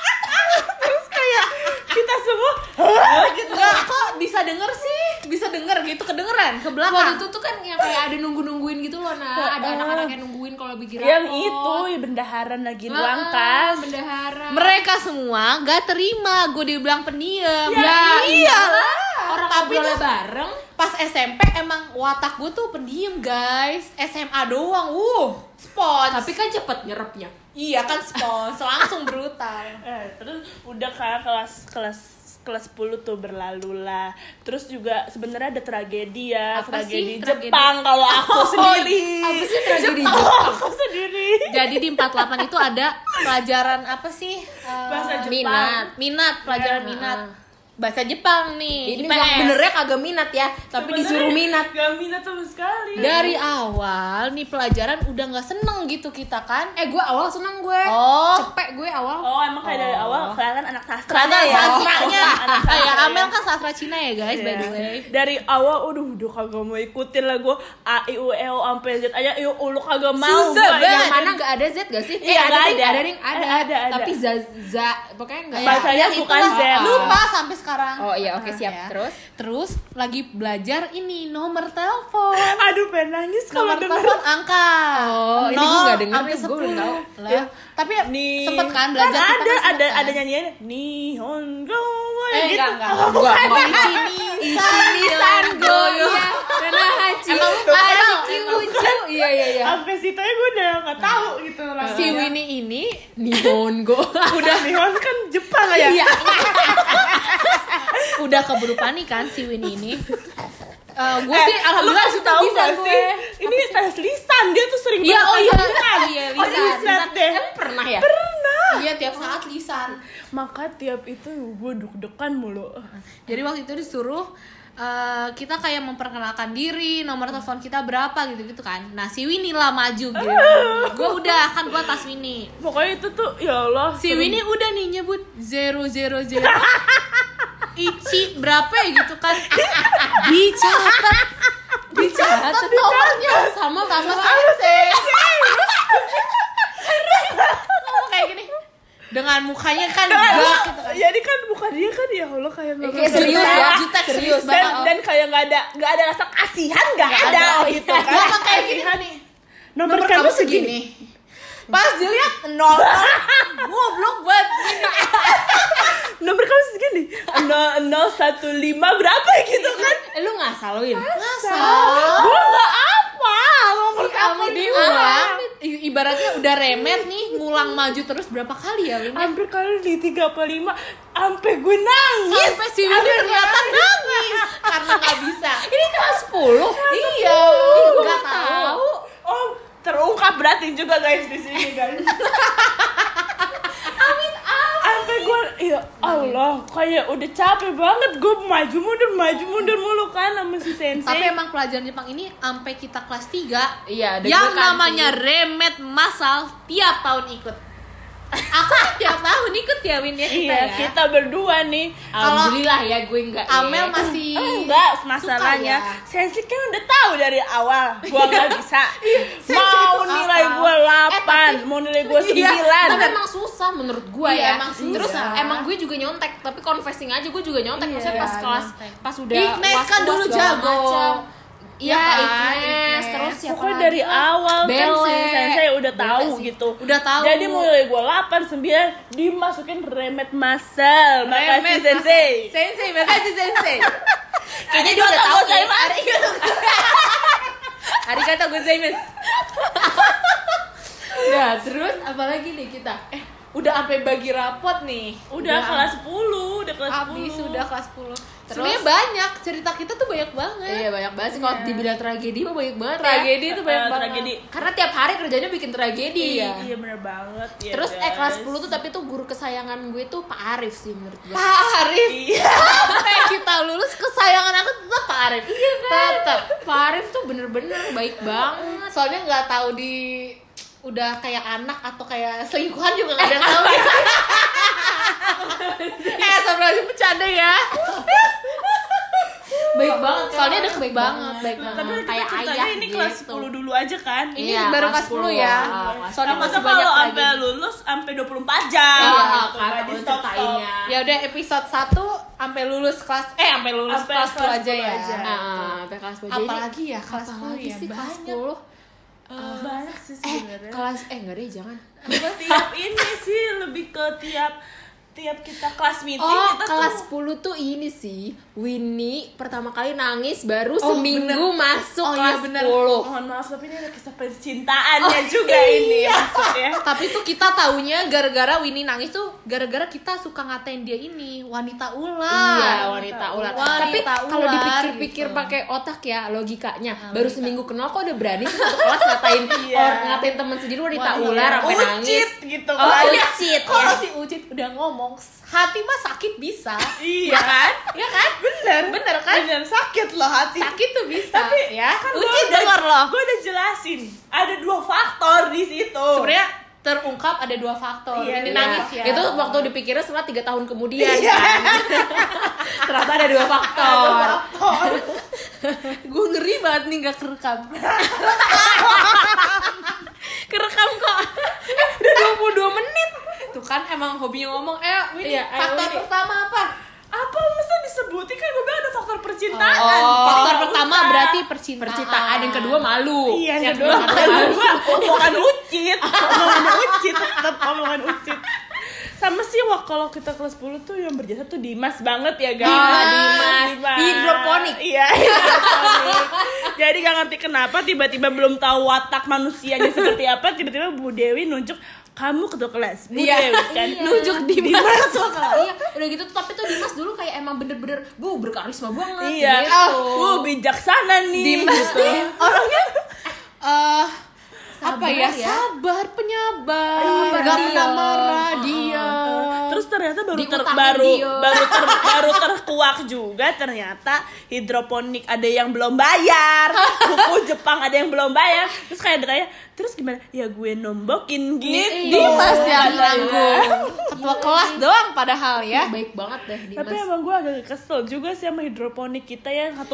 S2: terus kayak kita semua "Hah?" gitu
S1: Enggak, kok bisa denger sih? Bisa denger gitu kedengeran ke
S3: Waktu
S1: belakang.
S3: itu tuh kan yang kayak ada nunggu-nungguin gitu loh, nah. Ada anak-anak yang nungguin kalau bikin rapot.
S2: yang itu
S3: Oh.
S2: ya bendaharan lagi di
S3: Ah,
S2: langkas
S3: Bendahara.
S1: Mereka semua gak terima gue dibilang pendiam. Iya.
S2: Ya,
S1: iyalah.
S3: Orang
S1: Tapi
S3: ngobrolnya
S1: tuh
S3: bareng.
S1: pas SMP emang watak gue tuh pendiam guys. SMA doang. Uh, spons.
S3: Tapi kan cepet nyerepnya.
S1: iya kan spons, langsung brutal.
S2: Eh, terus udah kan kelas kelas kelas 10 tuh berlalu lah. Terus juga sebenarnya ada tragedi ya,
S3: Apa
S2: tragedi
S3: sih tragedi?
S2: Jepang kalau aku sendiri.
S3: Apa sih tragedi itu?
S2: Kalau aku sendiri.
S1: Jadi di 48 itu ada pelajaran apa sih? Eh,
S2: Bahasa Jepang.
S3: minat.
S1: minat, Nah. pelajaran
S3: Ya,
S1: minat.
S3: ah.
S1: Bahasa Jepang nih,
S3: Ini
S1: IPS.
S3: yang benernya kagak minat ya,
S2: Sebenarnya
S3: tapi disuruh minat.
S2: Gak minat sama sekali.
S1: dari awal nih pelajaran udah nggak seneng gitu kita kan
S3: Eh gue awal seneng gue.
S1: Oh.
S3: Cepet gue awal.
S2: Oh, emang kayak dari awal kelihatan anak sastra
S1: karena
S2: ya.
S1: sastranya
S2: Anak sastra
S1: kayak
S2: ya.
S1: Amel kan sastra Cina ya guys by the
S2: Iya.
S1: way
S2: Dari awal udah udah kagak mau ikutin lah gue A I U E O sampai Z aja I, U lu kagak mau
S1: Susah
S2: gua.
S1: banget.
S3: Yang mana gak ada Z gak sih?
S2: Iya,
S3: Eh,
S2: nggak
S3: ada, ding,
S2: ada.
S3: ada ding, ada.
S2: Eh, ada, ada.
S3: Tapi za, za, pokoknya gak
S2: Bacanya
S1: Yang
S2: bukan
S1: ya itulah, Oh.
S2: Z.
S1: lupa sampai sekarang
S3: Oh, iya, oke,
S1: Nah,
S3: siap. Terus?
S1: terus lagi belajar ini nomor telepon
S2: Aduh pengen nangis kalau
S1: nomor
S2: denger
S1: telepon angka
S3: Oh, ini gua nggak denger
S1: sampai
S3: tuh, gua belum
S1: 10.
S3: tahu.
S1: Lah,
S2: Ya.
S1: tapi
S2: Nih.
S1: sempet kan belajar kita
S2: ada
S1: kan
S2: ada
S1: sempet
S2: ada
S1: kan?
S2: nyanyian Nihon go
S1: eh
S2: gitu.
S1: enggak enggak
S2: Oh,
S3: Gua
S2: bukan.
S3: mau
S1: Ichinisan Goyo.
S3: Karena haji.
S1: Emang lu tahu?
S3: Iya, iya, iya.
S2: Sampai situ aja gue udah gak tahu gitu
S1: si Winnie ini
S3: Nihongo.
S2: udah Nihon kan Jepang ya.
S3: Iya.
S1: udah keburu panik kan si Winnie ini Eh, gue
S2: Eh,
S1: sih alhamdulillah
S2: lu kasih
S1: sudah
S2: tahu
S1: bisa
S2: gak
S1: gue
S2: sih? Ini tes lisan dia tuh sering
S1: Iya, oh
S2: banget
S1: iya,
S2: tes lisan.
S1: iya,
S2: Oh, dia
S1: lisan,
S2: lisan deh.
S3: Emang pernah ya?
S1: iya tiap saat lisan
S2: Maka tiap itu gue deg-degan mulu.
S1: jadi waktu itu disuruh eh, kita kayak memperkenalkan diri nomor telepon kita berapa gitu gitu kan nah si Winnie lah maju gitu gue udah kan gue tas Winnie
S2: Pokoknya itu tuh ya Allah.
S1: si
S2: serem.
S1: Winnie udah nih nyebut zero zero zero Ici berapa ya gitu kan dicatat dicatat nomornya sama sama sama Ngomong kayak gini dengan mukanya kan
S2: Ya Allah,
S1: gak gitu kan
S2: Jadi kan bukan dia kan ya Allah kayak nggak
S3: Kayak
S2: ngerti.
S1: serius
S3: serius
S1: ya,
S3: ya.
S1: jutek, serius
S3: serius
S1: banget.
S2: dan, dan kayak nggak ada nggak ada rasa kasihan nggak ada,
S3: ada.
S2: gitu kan
S1: Ngomong kayak iya. gini nih
S2: nomor, kamu segini
S1: pas dilihat nol goblok banget
S2: nomor kamu segini nol nol satu lima berapa gitu kan
S3: Eh, lu ngasaluin
S1: Masa?
S2: gue nggak apa nomor kamu
S1: Kamu
S2: diulang
S1: diulang. Ah. I- Ibaratnya udah remet nih, ngulang maju terus berapa kali ya Win?
S2: hampir kali di tiga apa lima sampai gue nangis
S1: Sampai si Win ternyata nangis karena nggak bisa.
S3: ini kelas 10
S1: Iya,
S3: gue
S1: nggak tahu.
S3: tahu
S2: oh terungkap berarti juga guys di sini guys sampai gue ya Allah kayak udah capek banget gue maju mundur maju mundur mulu kan sama si sensei
S1: Tapi emang pelajaran Jepang ini sampai kita kelas 3
S3: Iya, deg-degan
S1: yang
S3: sih.
S2: kan
S1: namanya remet masal tiap tahun ikut. Aku sih tiap tahun ikut ya Win ya kita ya.
S2: iya kita berdua nih Ah,
S3: alhamdulillah ya gue enggak
S1: Amel
S3: ya.
S1: masih
S2: Oh, enggak masalahnya
S1: ya?
S2: Sensei kan udah tahu dari awal gua nggak bisa
S1: Iya, Sensei
S2: mau
S1: itu
S2: nilai
S1: apa?
S2: gua
S1: Eh,
S2: 8 mau nilai gua
S1: Iya,
S2: 9
S3: tapi emang susah menurut gue
S1: Iya,
S3: ya
S1: emang
S3: terus
S1: susah.
S3: emang gue juga nyontek tapi confessing aja gue juga nyontek
S2: Iya,
S3: maksudnya pas kelas
S1: nyontek.
S3: pas udah
S1: Ignes kan
S3: was-was
S1: dulu
S3: segala
S1: jago.
S3: macem.
S1: Iya
S3: Iya,
S1: kan, Ignes.
S3: Ignes, terus siapa
S2: Pokoknya
S3: lagi?
S2: dari awal kan
S3: Bele.
S2: si Sensei udah
S3: Bele
S2: tahu
S3: sih.
S2: gitu
S1: Udah tahu.
S2: Jadi mulai gua 8, 9 dimasukin remet masal Makasih
S1: Remet
S2: Sensei
S1: masal. Sensei, makasih Sensei.
S3: kayaknya dia udah tahu
S2: Arigatou
S3: nih.
S1: Arigato gozaimasu.
S3: Nah, terus apalagi nih kita? Eh,
S1: Udah sampai bagi rapot nih.
S2: Udah kelas 10, udah kelas 10
S1: Abis udah kelas 10
S3: Terus-
S1: Sebenarnya banyak, cerita kita tuh banyak banget
S3: iya banyak banget sih kalau dibilang tragedi mah banyak banget. ya.
S1: Tragedi tuh banyak
S2: Eh,
S1: banget
S2: tragedi.
S3: Karena tiap hari kerjanya bikin tragedi.
S2: Iya, iya bener banget ya,
S3: Terus eh kelas
S2: guys.
S3: 10 tuh tapi tuh guru kesayangan gue tuh Pak Arif sih menurut gue.
S1: Pak Arif,
S2: Iya
S1: sampai Eh, kita lulus kesayangan aku tetap Pak Arif Iya
S3: kan?
S1: Tetap
S3: Pak Arif tuh bener-bener baik banget.
S1: Soalnya nggak tahu di udah kayak anak atau kayak selingkuhan juga nggak ada yang tahu eh sebenarnya bercanda ya
S3: Baik banget.
S1: soalnya ada baik banget
S3: baik banget.
S2: Tapi
S3: kayak
S2: ceritanya
S3: ayah
S2: ini
S3: gitu.
S2: kelas 10 dulu aja kan
S1: ini
S3: Iya,
S1: baru
S3: kelas
S1: kelas 10 ya
S3: 10, ah, kelas
S1: soalnya
S2: Nah,
S1: masih
S2: masa
S1: banyak
S2: kalau sampai
S1: lagi
S2: lulus sampai 24 jam
S3: Iya,
S2: gitu,
S3: kan,
S2: nggak
S3: kalau
S2: di-stop-stop.
S3: ceritainnya.
S1: ya udah episode 1 sampai lulus kelas eh sampai lulus
S2: Sampai
S1: kelas 10
S2: kelas
S1: aja
S2: 10
S1: ya
S2: aja.
S3: Nah, sampai kelas baju. Jadi,
S1: apalagi ya kelas 10
S3: apalagi
S1: ya
S3: sih kelas
S1: banyak
S3: 10?
S2: Eh, banyak sih
S3: Eh,
S2: sebenarnya.
S3: kelas eh enggak deh jangan.
S2: Bukan tiap ini sih lebih ke tiap tiap kita kelas meeting
S3: Oh,
S2: kita
S3: kelas
S2: tuh
S3: 10 tuh ini sih. Winnie pertama kali nangis baru
S1: Oh,
S3: seminggu
S1: bener.
S3: masuk
S1: Oh, iya,
S3: kelas
S1: bener.
S3: 10.
S2: mohon maaf tapi ini ada kisah percintaannya
S1: Oh,
S2: juga
S1: iya.
S2: ini maksudnya
S1: Eh, tapi tuh kita taunya gara-gara Winnie nangis tuh gara-gara kita suka ngatain dia ini wanita ular
S3: Iya, wanita ular.
S1: Wanita
S3: Tapi
S1: ular,
S3: kalau dipikir-pikir
S1: gitu.
S3: pakai otak ya logikanya, baru seminggu kenal kok udah berani sih satu kelas ngatain
S2: Iya.
S3: or ngatain teman sendiri wanita
S1: Wanita
S3: ular sampai nangis.
S2: ucit gitu
S3: Oh,
S2: kan
S3: iya.
S1: ucit
S3: Ucit,
S1: kalau
S3: ya.
S1: si ucit udah ngomong hati mah sakit bisa
S2: iya kan
S1: ya kan
S2: bener
S1: Bener kan?
S2: bener sakit loh hati
S1: sakit tuh bisa
S2: tapi
S1: ya
S2: kan gua
S1: ucit
S2: udah-
S1: denger loh
S2: gua udah jelasin ada dua faktor di situ
S1: sebenarnya terungkap ada dua faktor
S2: Iya,
S1: ini
S2: iya.
S1: nangis ya
S3: oh. Itu waktu dipikirnya setelah tiga tahun kemudian.
S2: Iya.
S3: kan. Ternyata ada dua faktor.
S1: gue ngeri banget nih gak kerekam
S3: Kerekam kok. Eh, udah 22 menit.
S1: tuh kan emang hobinya ngomong eh Winnie,
S3: Iya, ayo,
S1: faktor
S3: Winnie.
S1: pertama apa
S2: apa mesti disebutin kan gue bilang ada faktor percintaan
S1: Oh,
S2: Jadi
S1: faktor
S2: nggak
S1: pertama
S2: usah.
S1: berarti percintaan.
S3: Percintaan yang kedua malu.
S2: Iya, yang
S3: yang
S2: kedua
S3: kedua
S2: omongan kedua omongan ucit, omongan ucit, tetap omongan ucit. Sama sih wah kalau kita kelas 10 tuh yang berjasa tuh Dimas banget ya guys.
S3: Dimas. Hidroponik.
S2: Iya, hidroponik. Jadi gak ngerti kenapa tiba-tiba belum tahu watak manusianya seperti apa, tiba-tiba Bu Dewi nunjuk kamu ketua kelas. Bu
S1: Iya.
S2: Dewi kan.
S3: nunjuk Dimas.
S2: Dimas.
S3: Iya, udah gitu tuh, tapi tuh Dimas dulu kayak emang bener-bener bu berkarisma banget.
S2: Iya.
S3: gitu.
S2: Bu bijaksana nih.
S1: Dimas
S2: gitu.
S1: nih orangnya eh apa
S3: Sabar
S1: ya,
S3: ya.
S1: sabar penyabar
S3: Iya,
S1: gak
S3: diam.
S1: pernah marah
S3: Uh-uh.
S1: dia
S2: Terus ternyata baru ter,
S3: Diutakin
S2: baru
S3: dia.
S2: baru ter, baru terkuak juga ternyata hidroponik ada yang belum bayar, buku Jepang ada yang belum bayar. Terus kayak ditanya, terus gimana? Ya gue nombokin gitu.
S1: Dimas yang
S2: Iya.
S1: nanggung ketua kelas doang padahal ya
S3: Baik banget deh Dimas.
S2: Tapi emang gue agak kesel juga sih sama hidroponik kita yang 1,4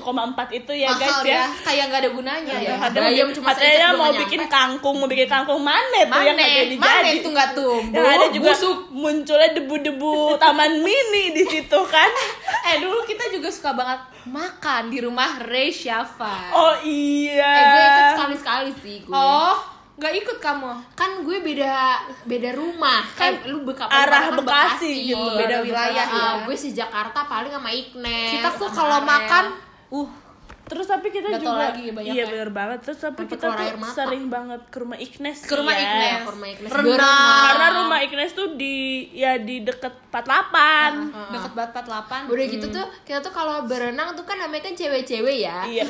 S2: itu ya
S1: mahal
S2: guys ya. Iya.
S1: ya kayak gak ada gunanya ya
S2: Ada
S3: Bayam cuma
S2: katanya
S3: seikat belum
S2: mau
S3: nyampe.
S2: bikin kangkung, mau bikin kangkung mana tuh
S1: mana
S2: yang nggak jadi
S1: mana
S2: jadi.
S1: itu nggak tumbuh
S2: Dan ada juga munculnya debu-debu taman mini di situ kan.
S1: eh dulu kita juga suka banget makan di rumah Ray Syafa
S2: Oh iya.
S1: Eh,
S3: Eh gue ikut sekali-sekali sih gue.
S1: oh Gak ikut kamu?
S3: kan gue beda beda rumah
S2: Kan
S3: Eh, lu beka,
S2: arah
S3: kan
S2: Bekasi gitu,
S1: beda
S2: beda
S1: wilayah
S2: wilayah.
S1: ya.
S3: Ah, gue si Jakarta paling sama Iknes
S1: Kita tuh
S3: sama
S1: kalau
S3: Ariel.
S1: makan, uh,
S2: Terus tapi kita
S1: Nggak tahu
S2: juga
S1: lagi banyak
S2: iya
S1: ya.
S2: bener banget. Terus tapi
S3: Sampai
S2: kita
S3: keluar air
S2: tuh
S3: mata.
S2: sering banget ke rumah Ignes.
S1: Ke rumah
S2: ya.
S1: Ignes.
S3: ke rumah Iknes
S1: Renang.
S3: Gue
S2: Karena rumah Ignes tuh di ya di deket 48.
S1: deket banget 48
S3: Udah gitu tuh kita tuh kalau berenang tuh kan namanya kan cewek-cewek ya.
S1: Ah.
S2: Iya.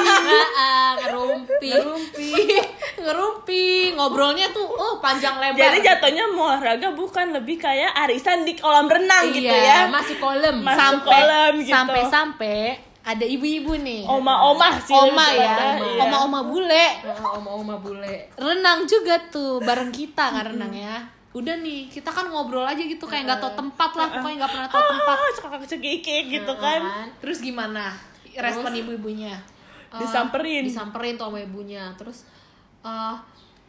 S3: Heeh, ngerumpi.
S1: ngerumpi ngerumpi ngobrolnya tuh oh panjang lebar
S2: Jadi jatuhnya mau olahraga bukan lebih kayak arisan di kolam renang gitu ya.
S3: Iya, masih kolem.
S2: Masuk
S1: sampai
S2: kolam gitu. Oh,
S1: sampai sampai ada ibu-ibu nih
S2: Oma-oma sih.
S1: oma
S2: lebih
S1: ya
S2: tepatnya, iya.
S1: oma-oma bule
S3: Oh, oma-oma bule.
S1: renang juga tuh bareng kita kan renangnya udah nih kita kan ngobrol aja gitu kayak nggak tau tempat lah pokoknya nggak pernah tau tempat Ah,
S2: Ah, suka kecekik gitu kan.
S3: Kan?
S1: terus gimana respon ibu-ibunya ah.
S3: Eh,
S2: Disamperin.
S3: disamperin tuh sama ibunya. Terus eh,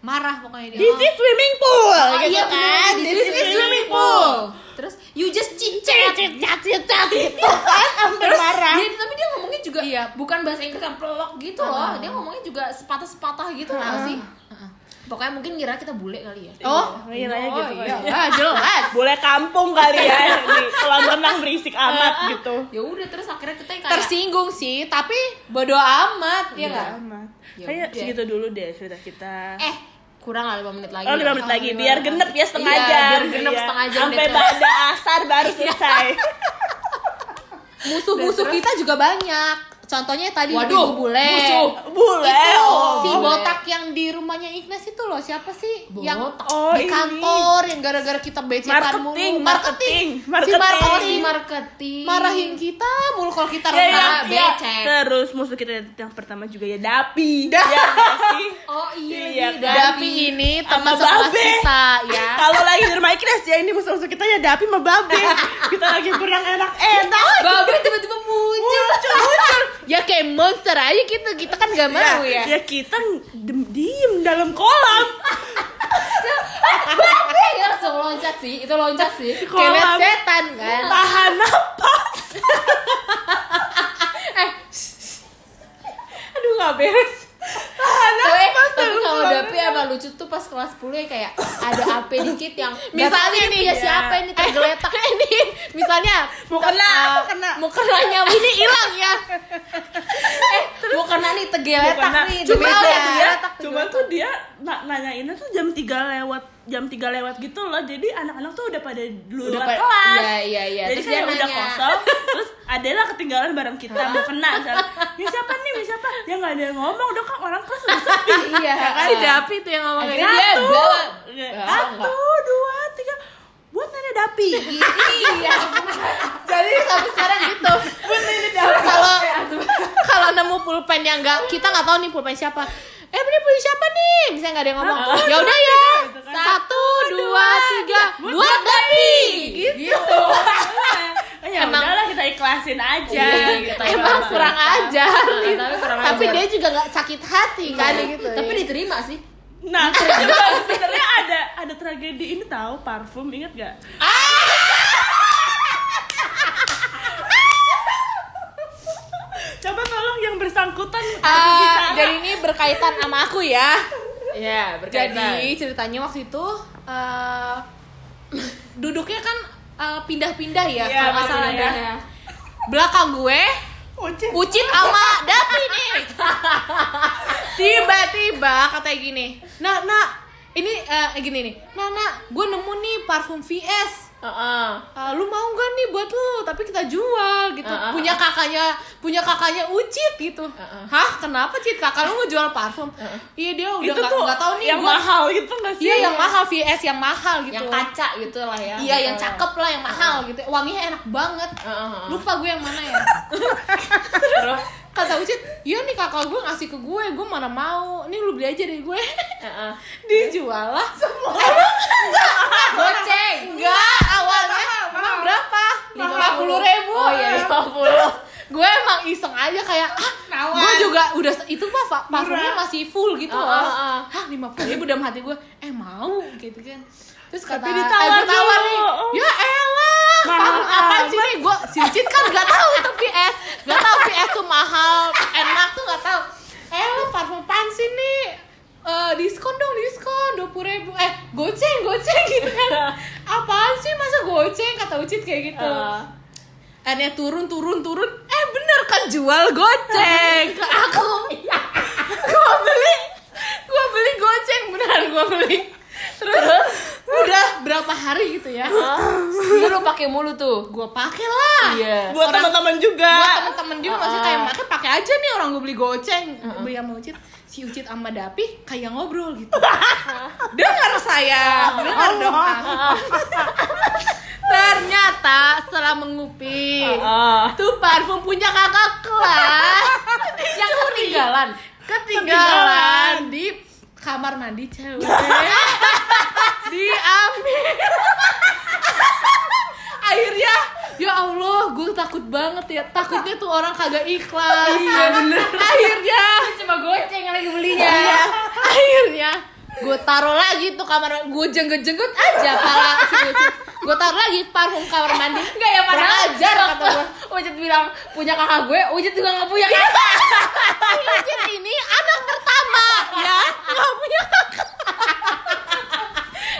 S3: marah pokoknya dia.
S2: This is swimming pool
S3: Oh,
S2: gitu
S3: iya
S2: kan.
S3: kan?
S2: This is swimming pool.
S3: Terus you just cincet.
S2: Cicat
S1: Oh.
S2: cicat gitu kan sampai marah.
S3: Dia, tapi dia ngomongnya juga
S1: Iya.
S3: bukan bahasa Inggris kan pelok gitu loh. Dia ngomongnya juga sepatah-sepatah gitu loh sih. Heeh. Pokoknya mungkin ngira kita bule kali ya.
S1: oh
S2: Ngiranya gitu kan.
S1: iya lah, jelas
S2: Boleh kampung kali ya di kolam renang berisik amat gitu.
S3: Ya udah terus akhirnya kita kayak Iya
S1: tersinggung sih tapi bodo amat ya nggak
S2: amat.
S3: Ya
S2: Kayak
S3: udah.
S2: segitu dulu deh cerita kita.
S3: eh kurang lah 5 menit lagi.
S2: Oh, lima menit lagi, biar genep ya setengah
S3: Eh, Iya,
S2: jam.
S3: biar genep
S2: Iya.
S3: setengah jam
S2: Sampai
S3: deh Iya. tuh.
S2: pada asar baru selesai.
S1: musuh-musuh kita juga banyak contonya tadi
S3: Waduh,
S1: ibu bule
S3: musuh.
S2: Bule.
S1: itu si
S2: oh.
S3: Bule.
S1: botak yang di rumahnya Ignas itu loh siapa sih
S3: Botak.
S1: yang
S2: Oh,
S1: di
S2: ini.
S1: kantor yang gara-gara kita becetan
S2: Marketing,
S1: mulu
S2: marketing,
S1: si
S2: marketing.
S3: Oh,
S1: marketing
S3: si marketing.
S1: marahin kita mulu kalau kita
S2: Ya, ya,
S1: renang
S2: ya.
S3: becek.
S2: Terus musuh kita yang pertama juga ya Dapi. Ya, nggak sih?
S3: Oh iya,
S2: Iya,
S3: lagi
S2: kan?
S1: Dapi ini teman
S2: Sama
S1: sekelas
S2: Babe.
S1: kita ya
S2: Kalau lagi di rumah Ignas ya ini musuh-musuh kita ya Dapi sama Babe. kita lagi berang enak-enak.
S3: Babe tiba-tiba muncul.
S1: ya kayak monster aja gitu kita kan gak mau ya,
S2: ya kita dem- diem dalam kolam.
S3: Babe ya langsung loncat sih. Itu loncat
S1: Kayak
S3: sih.
S1: liat
S2: Kolam.
S1: setan kan
S2: Tahan napas. Eh, Aduh nggak beres. Tahan
S3: Tapi,
S2: napas.
S3: tapi
S2: dalam
S3: kalau
S2: kolam.
S3: Dapi apa lucu tuh pas kelas 10 ya kayak ada AP dikit yang
S1: misalnya nih
S3: ya siapa ini tergeletak
S1: ini misalnya
S2: Mau kena,
S1: eh,
S2: mau kena.
S1: mau kena nyawa ini hilang ya
S3: eh bukan nih tergeletak Iya, kan?
S2: Bukan,
S3: nih di
S2: cuma
S3: meja.
S2: nah, tuh
S1: ya,
S2: dia
S1: letak di
S2: cuma tuh dia na- nanyainnya tuh jam 3 lewat jam 3 lewat gitu loh jadi anak-anak tuh udah pada dulu
S3: Udah
S2: lewat
S3: pada-
S2: kelas
S3: Iya, iya, iya.
S2: jadi
S3: Terus
S2: kayak
S3: dia
S2: udah
S3: nanya.
S2: kosong terus adalah ketinggalan barang kita mau kena misalnya ya siapa nih ya siapa ya nggak ada yang ngomong udah kok orang kelas udah sepi
S3: iya
S1: si Dapi tuh yang ngomong
S3: Akhirnya
S1: kayak
S3: dia
S2: satu
S3: jawab.
S2: satu dua tiga buat nenek dapi
S3: iya
S1: jadi sampai sekarang gitu kalau kalau nemu pulpen yang nggak kita nggak tahu nih pulpen siapa eh ini punya siapa nih misalnya nggak ada yang ngomong
S2: Satu,
S1: ya udah ya
S2: gitu kan.
S1: satu dua tiga buat Dapi
S3: gitu
S2: ya
S1: Emang-
S2: udahlah kita ikhlasin aja
S3: Iya,
S2: gitu
S1: emang
S2: Emang.
S1: kurang ajar
S3: tapi kurang
S1: tapi
S3: ajar.
S1: dia juga nggak sakit hati kan gitu
S3: tapi
S1: ya.
S3: diterima sih
S2: Nah, juga sebenarnya ada ada tragedi ini tahu parfum inget gak?
S1: Ah!
S2: Coba tolong yang bersangkutan
S1: Ah,
S2: bicara.
S1: jadi ini berkaitan sama aku ya
S3: iya
S1: Jadi ceritanya waktu itu eh, duduknya kan eh, pindah-pindah ya
S2: Iya,
S1: kalau nggak salah
S2: pindah-pindah.
S1: ya. Belakang gue
S2: Ucin.
S1: Ucin sama Dapi nih. Tiba-tiba katanya gini. Nah, nah, ini eh, gini nih. Nah, nah, gue nemu nih parfum VS. Ah, lu mau gak nih buat lu tapi kita jual gitu
S3: Ah, ah,
S1: punya kakaknya punya kakaknya ucit gitu
S3: Ah, ah.
S1: hah kenapa cit kakak lu mau jual parfum iya dia udah
S2: itu
S1: nggak
S2: tuh
S1: nggak tahu nih
S2: yang
S1: gua-
S2: mahal gitu gak sih?
S1: iya yang mahal vs yang mahal gitu
S3: yang kaca gitu lah ya
S1: iya yang cakep lah yang mahal gitu wanginya enak banget lupa gue yang mana ya
S3: terus
S1: kata ucit iya nih kakak gue ngasih ke gue gue mana mau nih lu beli aja dari gue Eh, dijual lah semua
S3: goceng
S1: enggak awalnya emang berapa lima puluh ribu
S3: oh iya lima puluh
S1: gue emang iseng aja kayak ah gue juga udah itu mah fa- parfumnya masih full gitu
S3: Oh,
S1: loh
S3: oh, oh.
S1: hah lima puluh ribu dalam hati gue eh mau gitu kan terus kata
S2: Tapi
S1: eh,
S2: ditawar
S1: ditawar
S2: dulu.
S1: nih ya elah
S2: Mahal
S1: parfum apa sih nih gue cincin kan gak tahu tuh PS gak tahu PS tuh mahal enak tuh gak tahu eh lo parfum pansi nih Eh, diskon dong di Eh, goceng goceng gitu kan apaan sih masa goceng kata Ucit kayak gitu
S2: Eh.
S1: akhirnya turun turun turun eh bener kan jual goceng ke aku gua beli gua beli goceng beneran gua beli terus udah berapa hari gitu ya
S3: Dulu lu pakai mulu tuh.
S1: gua pakai lah
S3: Iya.
S2: buat teman-teman juga
S1: buat temen-temen juga masih kayak
S3: Ah.
S1: makanya pakai aja nih orang gue beli goceng beli sama Ucit si Ucit sama Dapi kayak ngobrol gitu dengar saya
S2: Oh.
S1: dengar dong aku. ternyata setelah menguping
S3: Ah.
S1: tuh parfum punya kakak kelas yang
S3: Ketinggalan.
S1: ketinggalan di kamar mandi cewek diambil akhirnya ya Allah gue takut banget ya takutnya tuh orang kagak ikhlas iya bener akhirnya
S3: Cuma goceng yang lagi belinya.
S1: iya akhirnya gue taruh lagi tuh kamar gue jenggot jenggot aja pala si gue taruh lagi parfum kamar mandi
S3: Enggak ya padahal
S1: ajar kata gue
S3: Ujit bilang punya kakak gue, Ujit juga nggak
S1: Iya.
S3: punya kakak.
S1: Ujit ini anak pertama ya nggak punya kakak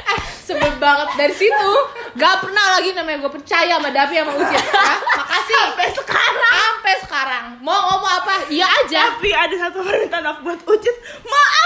S1: Eh, sebel banget dari situ gak pernah lagi namanya gue percaya sama Davi sama Ujit ya. makasih sampai sekarang sampai sekarang mau ngomong apa iya aja
S2: tapi ada satu permintaan maaf buat Ucit
S1: Oh,
S2: maaf
S1: iya.
S2: Iya.
S1: ya.